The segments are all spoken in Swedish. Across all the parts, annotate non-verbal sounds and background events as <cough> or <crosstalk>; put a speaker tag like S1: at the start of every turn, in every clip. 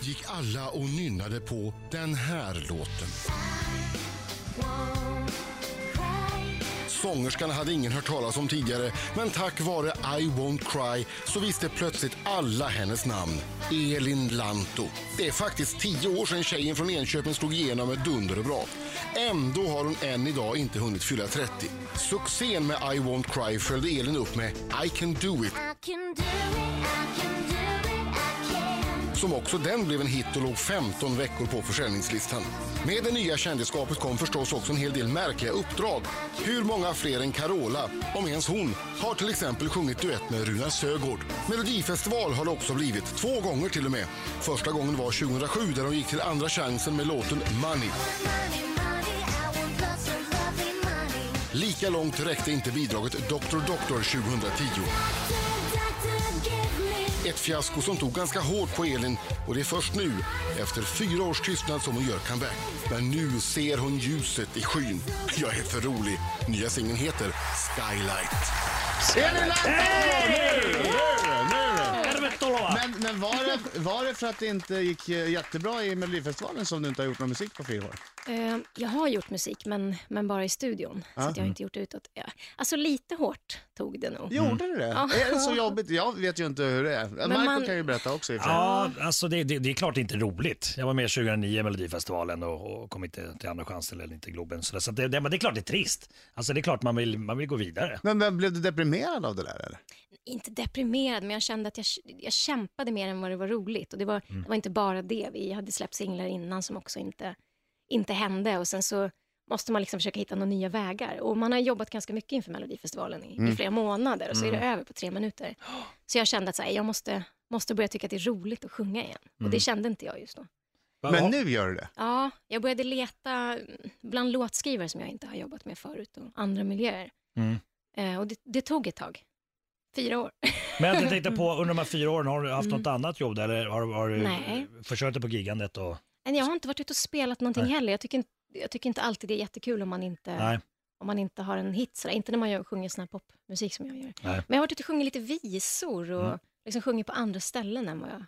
S1: gick alla och nynnade på den här låten. Sångerskan hade ingen hört talas om tidigare, men tack vare I Won't Cry så visste plötsligt alla hennes namn. Elin Lantto. Det är faktiskt tio år sedan tjejen från Enköping slog igenom med dunder och brak. Ändå har hon än idag inte hunnit fylla 30. Succén med I Won't Cry följde Elin upp med I Can Do It
S2: I can do it, I can do it, I can.
S1: som också den blev en hit och låg 15 veckor på försäljningslistan. Med det nya kändisskapet kom förstås också en hel del märkliga uppdrag. Hur många fler än Carola, om ens hon, har till exempel sjungit duett med Runar Sögaard. Melodifestival har det också blivit, två gånger till och med. Första gången var 2007 där hon gick till Andra chansen med låten Money.
S2: Money, money, I want lots of lovely money.
S1: Lika långt räckte inte bidraget Dr. Doctor 2010.
S2: Doctor, doctor, give me
S1: Ett fiasko som tog ganska hårt på Elin och det är först nu, efter fyra års tystnad, som hon gör comeback. Men nu ser hon ljuset i skyn. Jag är för rolig. Nya singeln heter Skylight.
S3: Elin
S4: Tervetuloa!
S3: Men, men var, det, var det för att det inte gick eh, jättebra i Melodifestivalen som du inte har gjort någon musik på fyra år?
S5: Eh, jag har gjort musik, men, men bara i studion. Så att jag har inte gjort det utåt. Ja. Alltså lite hårt tog det nog.
S3: Gjorde du det? Mm. Är det så jobbigt? Jag vet ju inte hur det är. Marco
S5: man-
S3: kan ju berätta också i och för sig.
S4: Ja, alltså det, det, det är klart inte roligt. Jag var med 2009 i Melodifestivalen och, och kom inte till Andra chansen eller inte Globen. Så, det, så att det, det, men det är klart det är trist. Alltså det är klart man vill, man vill gå vidare.
S3: Men, men blev du deprimerad av det där eller?
S5: Inte deprimerad, men jag kände att jag, jag kämpade mer än vad det var roligt. Och det var, det var inte bara det. Vi hade släppt singlar innan som också inte, inte hände. Och sen så måste man liksom försöka hitta några nya vägar. Och man har jobbat ganska mycket inför Melodifestivalen i, i flera månader och så är det över på tre minuter. Så jag kände att så här, jag måste, måste börja tycka att det är roligt att sjunga igen. Och det kände inte jag just då.
S3: Men nu gör du det.
S5: Ja, jag började leta mm, bland låtskrivare som jag inte har jobbat med förut och andra miljöer.
S4: Mm.
S5: Eh, och det, det tog ett tag. Fyra år. <laughs>
S4: Men jag tänkte på, under de här fyra åren, har du haft något annat jobb där, eller har, har du
S5: Nej.
S4: försökt dig på gigandet? Och,
S5: Men jag har inte varit ute och spelat någonting
S4: Nej.
S5: heller. Jag tycker, inte, jag tycker inte alltid det är jättekul om man inte,
S4: Nej.
S5: om man inte har en hit. Sådär. Inte när man gör, sjunger sån här popmusik som jag gör.
S4: Nej.
S5: Men jag har varit ute och sjungit lite visor och
S4: Mm.
S5: liksom sjungit på andra ställen än vad jag,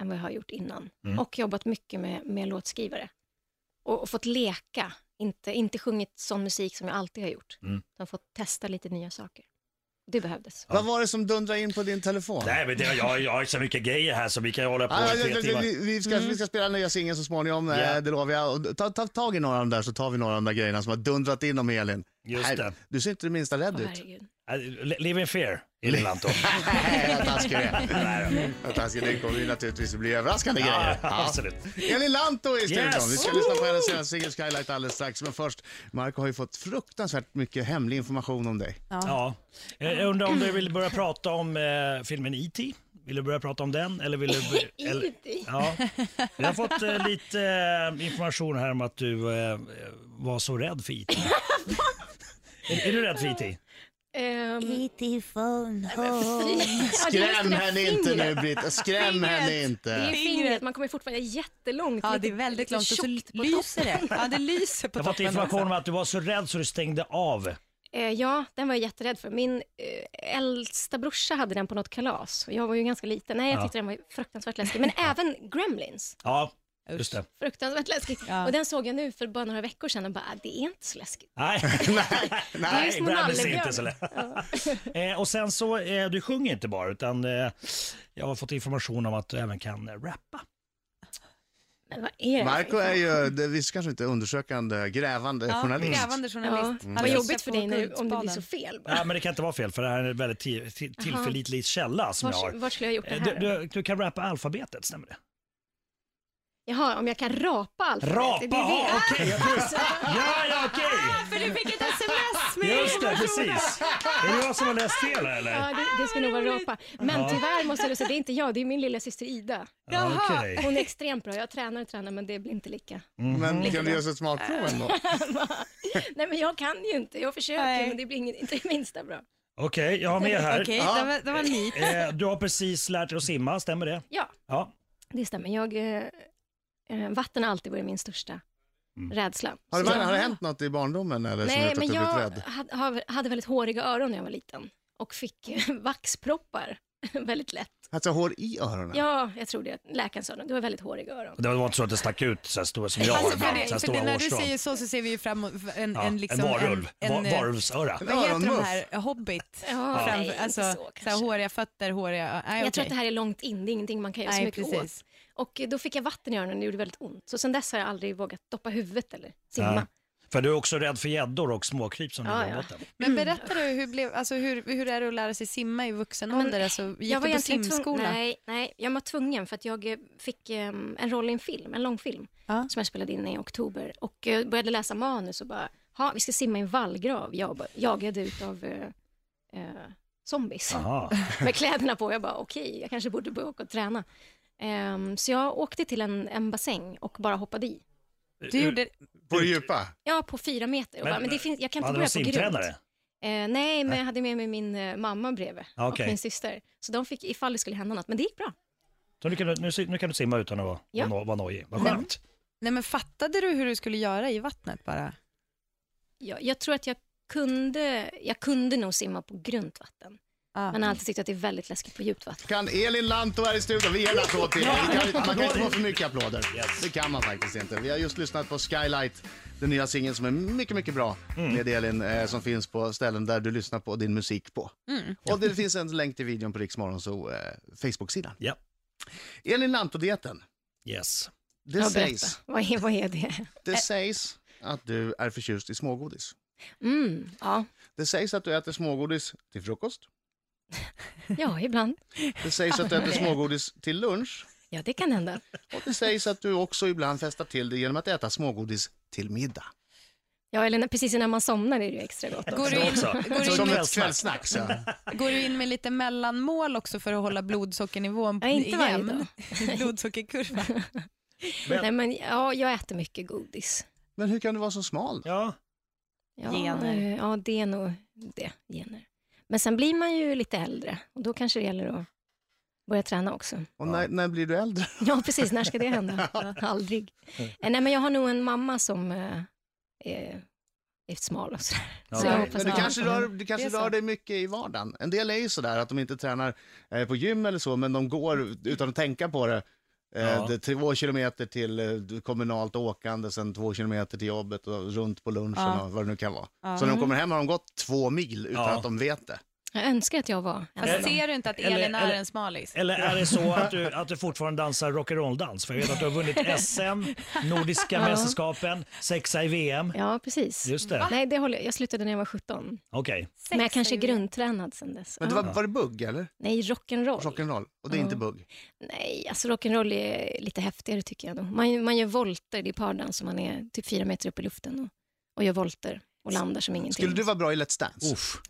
S5: än vad jag har gjort innan.
S4: Mm.
S5: Och jobbat mycket med, med låtskrivare. Och, och fått leka. Inte, inte sjungit sån musik som jag alltid har gjort.
S4: Mm.
S5: Utan fått testa lite nya saker. Det behövdes.
S3: Vad var det som dundrade in på din telefon?
S4: Nej, men det, jag, jag har så mycket grejer här så vi kan ju hålla på
S3: Ah,
S4: i tre
S3: vi,
S4: timmar.
S3: vi, vi, ska, vi ska spela nya singeln så småningom,
S4: Ja.
S3: yeah. det lovar jag. Och Ta, ta tag i några av de där så tar vi några av de där grejerna som har dundrat in om Elin.
S4: Just
S3: Nej,
S4: det.
S3: Du ser inte det minsta rädd
S5: Åh,
S3: ut.
S5: herregud.
S4: Äh, Live in fear,
S3: <laughs>
S4: Elin Lantto.
S3: Nej, vad taskig du är. Vad taskig, det kommer ju naturligtvis bli överraskande
S4: ja,
S3: grejer. Ja.
S4: absolut.
S3: Elin Lantto i studion.
S4: Yes!
S3: Vi ska lyssna på hennes senaste singel Skylight alldeles strax. Men först, Marco har ju fått fruktansvärt mycket hemlig information om dig.
S4: Ja. Eh, Jag undrar om du vill börja prata om eh, filmen E.T. Vill du börja prata om den? Eller vill <laughs> du, eller,
S5: E.T..
S4: Ja. Vi har fått eh, lite eh, information här om att du eh, var så rädd för E.T. är, är du rädd för E.T.?
S5: Ehm,
S2: E.T. phone
S5: ja, det var just
S3: Skräm
S5: det där
S3: henne inte nu
S5: fingret.
S3: Britt, skräm henne
S5: Det är
S3: inte.
S5: fingret, man kommer fortfarande jättelångt.
S6: Ja,
S5: lite-
S6: det är väldigt
S5: typ lite
S6: långt och
S5: tjockt på
S6: så lyser det. Ja, det lyser på
S4: Jag har fått
S6: toppen.
S4: information om
S5: alltså.
S6: också.
S4: att du var så rädd så du stängde av.
S5: Eh, ja, den var jag jätterädd för. Min eh, äldsta brorsa hade den på något kalas och jag var ju ganska liten. Nej, jag
S4: Ja.
S5: tyckte den var fruktansvärt läskig.
S4: <laughs>
S5: Men även Gremlins,
S4: Ja, just det.
S5: fruktansvärt läskig.
S6: Ja.
S5: Och den såg jag nu för bara några veckor sedan och bara, ah, det är inte så
S4: <laughs>
S5: läskigt. <laughs>
S4: Nej,
S5: Det är ju
S4: nej,
S5: som en
S4: Brandis är
S5: nallebjörn.
S4: inte så lätt. Eh, Och sen så, eh, du sjunger inte bara utan eh, jag har fått information om att du även kan eh, rappa.
S5: Men vad är det?
S3: Marco är ju, det- vi ska kanske inte undersökande, grävande
S6: Ja,
S3: journalist.
S6: grävande
S5: Ja,
S6: journalist. Mm.
S4: Mm.
S5: vad jobbigt för dig nu, om det blir så fel. Bara.
S4: Ja, men det kan inte vara fel för det här är en väldigt ti- ti- tillförlitlig källa som jag
S5: Vart,
S4: har.
S5: vart skulle jag ha gjort det
S4: Eh,
S5: här?
S4: Du, du, du kan rappa alfabetet, stämmer det?
S5: Jaha, om jag kan rapa alfabetet?
S4: Rapa,
S5: det är det.
S4: ja okej! Ja, ja okej!
S6: <laughs> För du fick ett sms med
S4: Just det, precis. Är det jag som har läst fel här, eller?
S5: Ja, det, det ska nog vara rapa. Men
S4: Ja.
S5: tyvärr måste jag då säga, det är inte jag, det är min lilla syster Ida.
S4: Ja, okej.
S5: Hon
S4: <laughs>
S5: är extremt bra. Jag tränar och tränar, men det blir inte lika.
S3: Men kan du göra så ett smakprov ändå?
S5: <laughs> Nej, men jag kan ju inte. Jag försöker,
S6: Nej.
S5: men det blir ingen, inte det minsta bra.
S4: Okej, jag har med här.
S6: Okej, det var, det var ni.
S4: Eh, Du har precis lärt dig att simma, stämmer det?
S5: Ja,
S4: Ja.
S5: det stämmer. Jag, eh, eh, vatten har alltid varit min största rädsla.
S3: Mm. Har det,
S5: Så
S3: varit- har det
S5: jag-
S3: hänt något i barndomen eller som
S5: Nej,
S3: gjort att
S5: men
S3: du
S5: jag
S3: blivit rädd?
S5: hade, hade väldigt håriga öron när jag var liten och fick eh, <laughs> vaxproppar <laughs> väldigt lätt.
S3: Alltså hår i öronen?
S5: Ja, jag tror det. Läkaren sa det. Du har väldigt håriga öron.
S4: Det var inte så att det stack ut så här stora som jag har
S6: Alltså för
S4: ibland,
S6: det,
S4: så här
S6: för det,
S4: stora
S6: när du
S4: hårstrån.
S6: säger så så ser vi ju fram en,
S4: Ja,
S6: en, liksom,
S4: en varulv,
S6: en-
S4: Va-
S6: en, eh,
S4: varulvsöra.
S6: Vad heter de
S3: Öronmuff.
S6: här? Hobbit?
S5: Ja,
S6: Framför,
S5: nej, inte
S6: alltså,
S5: så
S6: så här,
S5: kanske.
S6: håriga fötter, håriga... Nej,
S5: Jag tror att det här är långt in, det är ingenting man kan göra så
S6: Nej,
S5: mycket åt.
S6: precis.
S5: Och eh, då fick jag vatten i öronen och det gjorde väldigt ont. Så sen dess har jag aldrig vågat doppa huvudet eller
S4: Ja.
S5: simma.
S4: För du är också rädd för gäddor och småkryp som
S5: Ja,
S4: ligger i
S5: ja.
S4: botten.
S6: Men
S5: Mm.
S6: berätta du, hur, blev, alltså, hur, hur är det att lära sig simma i vuxen
S5: Men
S6: ålder? Alltså, gick
S5: jag
S6: du på
S5: egentligen tvung-
S6: simskola?
S5: Nej, nej, jag var tvungen för att jag eh, fick eh, en roll i en film, en långfilm,
S6: Ja.
S5: som jag spelade in i oktober. Och eh, började läsa manus och bara, ha, vi ska simma i en vallgrav, jag bara, jagade ut av eh, eh, zombies.
S4: Aha.
S5: <laughs> med kläderna på. Jag bara, okej, jag kanske borde börja åka och träna. Ehm, så jag åkte till en, en bassäng och bara hoppade i.
S6: Du gjorde,
S3: På det djupa?
S5: Ja, på fyra meter. Och
S4: Men-
S5: bara, men det finns, jag kan inte
S4: Hade du
S5: börja
S4: någon
S5: på grund.
S4: simtränare?
S5: Eh, nej, men jag hade med mig min eh, mamma bredvid
S4: Ja, okej.
S5: och min syster. Så de fick, ifall det skulle hända något, men det gick bra.
S4: Så nu kan, du, nu, si- nu kan du simma utan att vara,
S5: Ja.
S4: vara no- vara nojig. Vad skönt.
S6: nej men fattade du hur du skulle göra i vattnet bara?
S5: Jag, jag tror att jag kunde, jag kunde nog simma på grunt vatten.
S6: Ja.
S5: Men jag har alltid tyckt att det är väldigt läskigt på djupt vatten.
S3: Kan Elin Lantto här i studion, vi ger en applåd till. Vi kan, man kan inte få för mycket applåder. Det kan man faktiskt inte. Vi har just lyssnat på Skylight, den nya singeln som är mycket, mycket bra med Elin, eh, som finns på ställen där du lyssnar på din musik på. Och det finns en länk till videon på Riksmorgon, så eh, Facebook-sidan.
S4: Ja.
S3: Elin Lantto-dieten,
S4: Yes.
S3: det,
S5: Ja, berätta.
S3: sägs,
S5: Vad är, vad är det?
S3: det sägs att du är förtjust i smågodis.
S5: Mm, ja.
S3: Det sägs att du äter smågodis till frukost.
S5: ja, ibland.
S3: Det sägs att du äter smågodis till lunch.
S5: Ja, det kan hända.
S3: Och det sägs att du också ibland festar till det genom att äta smågodis till middag.
S5: Ja, eller när, precis innan man somnar är det ju extra gott.
S6: Går du,
S4: Så
S6: in,
S4: också.
S6: går, du
S4: Så
S3: Som
S6: in,
S3: ett kvällssnack. Så.
S6: går du in med lite mellanmål också för att hålla blodsockernivån
S5: Ja, inte varje
S6: jämn? <laughs> Blodsockerkurva.
S4: Men-
S5: Nej, men ja, jag äter mycket godis.
S3: Men hur kan du vara så smal? då?
S4: Ja.
S5: Ja,
S6: Gener.
S5: eh, Ja, det är nog det, gener. Men sen blir man ju lite äldre och då kanske det gäller att börja träna också.
S3: Och när, när blir du äldre?
S5: Ja, precis. När ska
S3: <laughs>
S5: det hända? Aldrig. Eh, Nej, men jag har nog en mamma som eh, är, är smal och sådär.
S4: Ja,
S5: Så
S4: okej.
S5: jag
S3: Men
S5: hoppas
S3: du
S5: att-
S3: kanske rör, du kanske
S6: Det är så.
S3: rör dig mycket i vardagen. En del är ju sådär att de inte tränar eh, på gym eller så, men de går utan att tänka på det. Eh,
S4: Ja.
S3: det är två kilometer till eh, kommunalt åkande, sen två kilometer till jobbet och runt på lunchen
S6: Ja.
S3: och vad det nu kan vara.
S6: Ja.
S3: Så när de kommer hem har de gått två mil utan
S4: Ja.
S3: att de vet det.
S5: Jag önskar att jag var en av
S6: Fast
S5: dem.
S6: ser du inte att
S4: Eller-
S6: Elin är
S4: eller-
S6: en smalis?
S4: Eller är det så att du, att du fortfarande dansar rock'n'roll-dans? För jag vet att du har vunnit SM, Nordiska
S5: Ja.
S4: mästerskapen, sexa i VM.
S5: Ja, precis.
S4: Just det.
S5: Nej, det håller jag. jag slutade när jag var 17.
S4: Okej.
S5: Men jag kanske är
S6: Sex, säger vi.
S5: grundtränad sen dess.
S3: Men det
S5: Ja.
S3: var, var det bugg eller?
S5: Nej, rock'n'roll.
S3: Rock'n'roll. Och det är inte bugg.
S5: Nej, alltså rock'n'roll är lite häftigare tycker jag. Då. Man, man gör volter, det är pardans, så man är typ fyra meter upp i luften och, och gör volter och landar som ingenting.
S3: Skulle du vara bra i Let's Dance?
S4: Uff.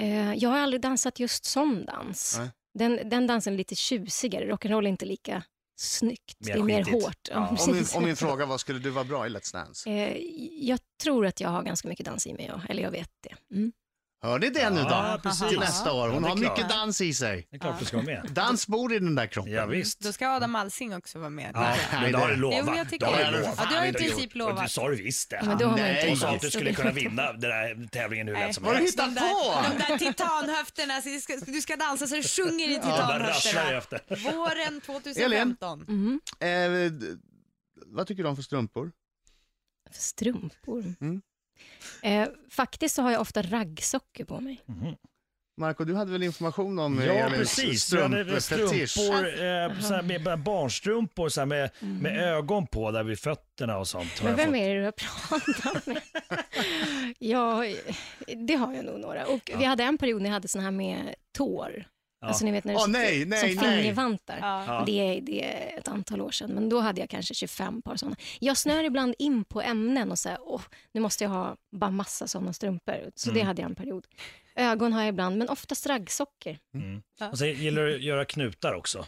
S5: Eh, jag har aldrig dansat just sån dans.
S3: Nej.
S5: Den, den dansen är lite tjusigare, rock'n'roll är inte lika snyggt,
S4: Mer
S5: det är mer
S4: skitigt.
S5: hårt. Ja,
S4: Ja. Om
S5: precis.
S3: Om, min, om min fråga var, skulle du vara bra i Let's Dance?
S5: <laughs> Eh, jag tror att jag har ganska mycket dans i mig, ja. eller jag vet det. Mm.
S3: Hör ni det nu
S4: Ja,
S3: då?
S4: precis.
S3: Till nästa år.
S4: Ja,
S3: Hon
S4: det är
S3: har
S4: klart.
S3: mycket dans i sig.
S4: Det är klart du ska vara med.
S3: Dans bor i den där kroppen.
S4: Ja, visst.
S6: Då ska Adam Alsing också vara med.
S4: Ja, men det har du lovat.
S6: Jo, jag tycker
S4: det har
S6: det.
S4: du, lovat.
S6: Ja, du har i
S4: Det
S6: princip
S4: gjort.
S6: lovat.
S4: Och Du sa du visst det.
S5: Ja, men då har man
S3: Nej.
S5: inte
S4: Hon sa att
S5: dansat.
S4: du skulle kunna vinna den där tävlingen hur lätt som
S6: Nej.
S3: Vad har du
S4: helst.
S3: hittat
S6: De
S3: på?
S6: där- De där titanhöfterna, så du ska, du ska dansa så du sjunger i
S4: Ja, där rasslar jag
S6: titanhöfterna.
S4: efter.
S6: Våren 2015.
S5: Mhm.
S3: Eh, d- vad tycker du om för strumpor?
S5: För strumpor.
S3: Mm.
S5: Eh, faktiskt så har jag ofta raggsockor på mig.
S3: Marco, du hade väl information om eh,
S4: Ja,
S3: Elins
S4: precis. Vi hade väl
S3: strumpfetisch? Alltså,
S4: Strumpor, eh, så här med, med barnstrumpor så här med, med ögon på där vid fötterna och sånt. har
S5: Men
S4: jag
S5: vem
S4: fått.
S5: är det du har pratat med? ja, det har jag nog några. Och Vi hade en period när jag hade såna här med tår. Alltså ni vet när det
S3: Åh,
S5: sitter-
S3: nej, nej,
S5: som
S3: nej.
S5: fingervantar.
S6: Ja.
S5: Och Det, är, det är ett antal år sedan, men då hade jag kanske 25 par sådana. Jag snör ibland in på ämnen och säger, åh, nu måste jag ha bara massa sådana strumpor. Så det hade jag en period. Ögon har jag ibland, men oftast raggsockor.
S4: Och sen gillar du att göra knutar också.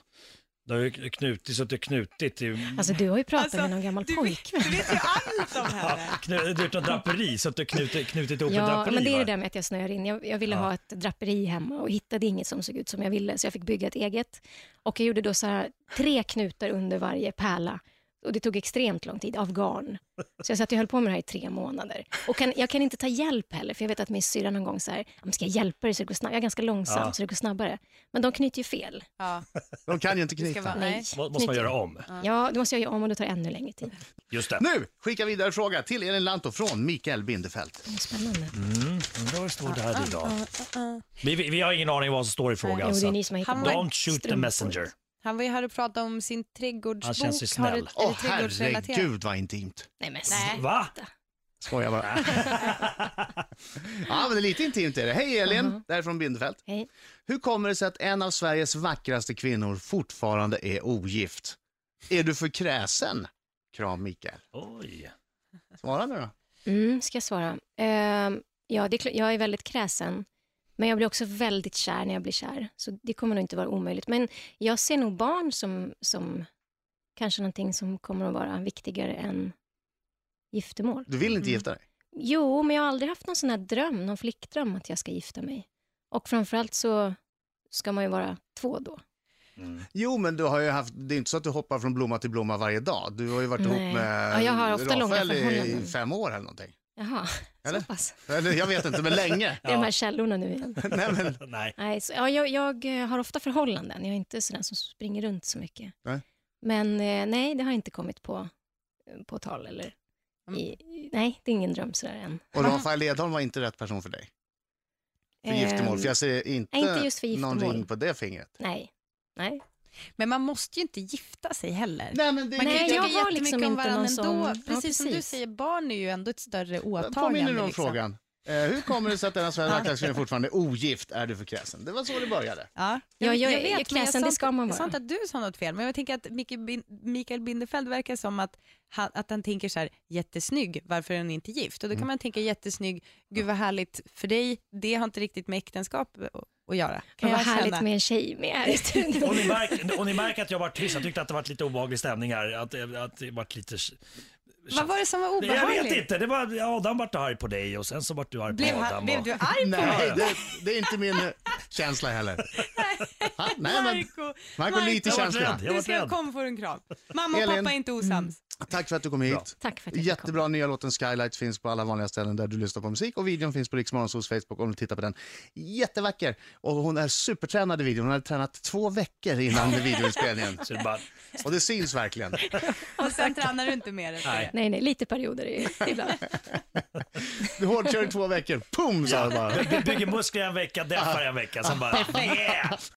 S4: Du har ju knutit så att du knutit. i-
S5: Alltså du har ju pratat
S6: Alltså,
S5: med någon gammal
S6: du vet-
S5: pojkvän.
S6: Du vet ju
S5: <laughs>
S6: allt om henne.
S4: Knu, du har gjort något draperi så att du knutit, knutit ihop ett
S5: Ja,
S4: draperi.
S5: men det är
S4: va?
S5: det där med att jag snöar in. Jag, jag ville
S4: Ja.
S5: ha ett draperi hemma och hittade inget som såg ut som jag ville, så jag fick bygga ett eget. Och jag gjorde då så här, tre knutar under varje pärla Och det tog extremt lång tid, av garn. Så jag satt och höll på med det här i tre månader. Och kan, jag kan inte ta hjälp heller, för jag vet att min syrra någon gång så här, "Ja, men ska jag hjälpa dig så det går snabbare? Jag är ganska långsam,
S4: Ja.
S5: så det går snabbare. Men de knyter ju fel.
S6: Ja,
S3: De kan ju inte
S6: det ska
S3: knyta.
S6: vara, nej.
S4: Må- Måste man göra om? Mm.
S5: Ja, då måste jag göra om och det tar ännu längre tid.
S4: Just det.
S3: Nu skickar vi vidare fråga till Elin Lantto från Mikael Bindefeld.
S5: Spännande.
S4: Undrar vad det stod där idag. Vi, vi, vi har ingen aning vad som står i frågan.
S5: Jo, det
S4: så
S5: är
S4: att-
S5: ni som har hittat
S6: Han
S5: på.
S6: var-
S4: alltså, Don't shoot the
S5: Strumpor.
S4: messenger.
S6: Han var ju här och pratade om sin
S4: Han
S6: trädgårdsbok.
S4: känns ju
S6: Har du-
S4: snäll.
S6: är det
S3: Åh
S6: trädgårdsrelaterat?
S3: herregud vad intimt.
S5: Nej, men
S6: Nej.
S4: Va?
S3: Skojar
S4: <laughs>
S3: bara. ja men det är lite intimt är det. Hej Elin,
S6: Uh-huh.
S3: det här är från Bindefeld.
S5: Hej.
S3: Hur kommer det sig att en av Sveriges vackraste kvinnor fortfarande är ogift? Är du för kräsen? Kram Mikael.
S4: Oj.
S3: Svara nu då.
S5: Mm, ska jag svara? Ehm, ja, det är, kl- jag är väldigt kräsen. Men jag blir också väldigt kär när jag blir kär. Så det kommer nog inte vara omöjligt. Men jag ser nog barn som, som kanske någonting som kommer att vara viktigare än giftermål.
S3: Du vill inte gifta dig?
S5: Jo, men jag har aldrig haft någon sån här dröm, någon flickdröm att jag ska gifta mig. Och framförallt så ska man ju vara två då.
S3: Jo, men du har ju haft, det är inte så att du hoppar från blomma till blomma varje dag. Du har ju varit
S5: Nej.
S3: ihop med
S5: Ja, jag har ofta långa
S3: Rafael i, i
S5: förhållanden.
S3: fem år eller någonting.
S5: Jaha,
S3: Eller?
S5: så pass.
S3: Eller jag vet inte, men länge.
S5: <laughs> Det är de här källorna nu igen.
S3: Nej, men,
S4: <laughs> Nej.
S5: Nej, så, ja, jag, jag eh, har ofta förhållanden. Jag är inte sådär som springer runt så mycket.
S3: Nej.
S5: Men eh, nej, det har inte kommit på, eh, på tal. Eller,
S3: Mm.
S5: i, i- nej, det är ingen dröm sådär än.
S3: och Rafael Edholm var inte rätt person för dig, för
S5: Ehm,
S3: giftermål. För jag ser inte,
S5: nej, inte just för
S3: någon
S5: giftermål.
S3: ring på det fingret.
S5: Nej. Nej.
S6: Men man måste ju inte gifta sig heller.
S3: Nej, men det
S6: Man kan ju
S5: Nej,
S6: tycka
S5: jag har
S6: jättemycket
S5: liksom
S6: om
S5: inte någon
S6: varandra ändå.
S5: sån-
S6: Precis,
S5: Ja,
S6: som du
S5: precis.
S6: säger, barn är ju ändå ett större åtagande.
S3: Påminner du om
S6: liksom.
S3: frågan? Eh, hur kommer det sig att denna svenska fortfarande är ogift? Är du för kräsen? Det var så det började.
S6: Ja,
S5: Ja, jag är-
S6: men
S5: kräsen,
S6: sa
S5: det
S6: inte-
S5: ska man
S6: Jag sa
S5: vara.
S6: inte att du sa något fel, men jag tänker att Micke Bin, Mikael Bindefeld verkar som att han, att han tänker så här, jättesnygg, varför är hon inte gift? Och
S5: Mm.
S6: då kan man tänka jättesnygg, gud vad härligt för dig, det har inte riktigt med äktenskap att- att göra.
S5: Men
S6: Kan
S5: vad
S6: jag
S5: härligt
S6: känna.
S5: med en tjej med här i
S3: <laughs>
S4: Och ni,
S5: studion.
S4: märker, och ni märker att jag varit tyst. Jag tyckte att det varit lite obehaglig stämning här. Att, det- att det varit lite...
S6: Vad var det som var
S4: Jag
S6: obehagligt?
S4: vet inte. Det var, Adam vart arg på dig och sen så vart du arg på
S6: Blev,
S4: Adam.
S6: han,
S4: och...
S6: blev du arg på mig?
S3: Nej, det, det är inte min eh, känsla heller. Ha? Nej, men,
S6: Marco,
S3: Marco, lite
S4: Jag vart
S3: Känsla.
S4: rädd. Jag
S6: Du
S4: vart
S6: ska
S4: rädd.
S6: komma få en kram. Mamma och
S3: Elin. Mm.
S6: pappa är inte osams.
S3: tack för att du kom hit.
S4: Bra.
S5: Tack för att jag fick komma.
S3: Jättebra nya låten Skylight finns på alla vanliga ställen där du lyssnar på musik och videon finns på Riksmorgonsols Facebook om du tittar på den. Jättevacker! Och hon är supertränad i videon. Hon hade tränat två veckor innan videoinspelningen.
S4: Så det bara,
S3: Och det syns verkligen.
S6: Och sen tränar du inte mer efter
S4: Nej.
S6: det.
S5: Nej, nej, lite perioder
S3: <laughs>
S5: i- ibland.
S3: Du hårdkör i två veckor. Pum sa det bara.
S4: bygger muskler en vecka, däffar en vecka, sen bara yeah!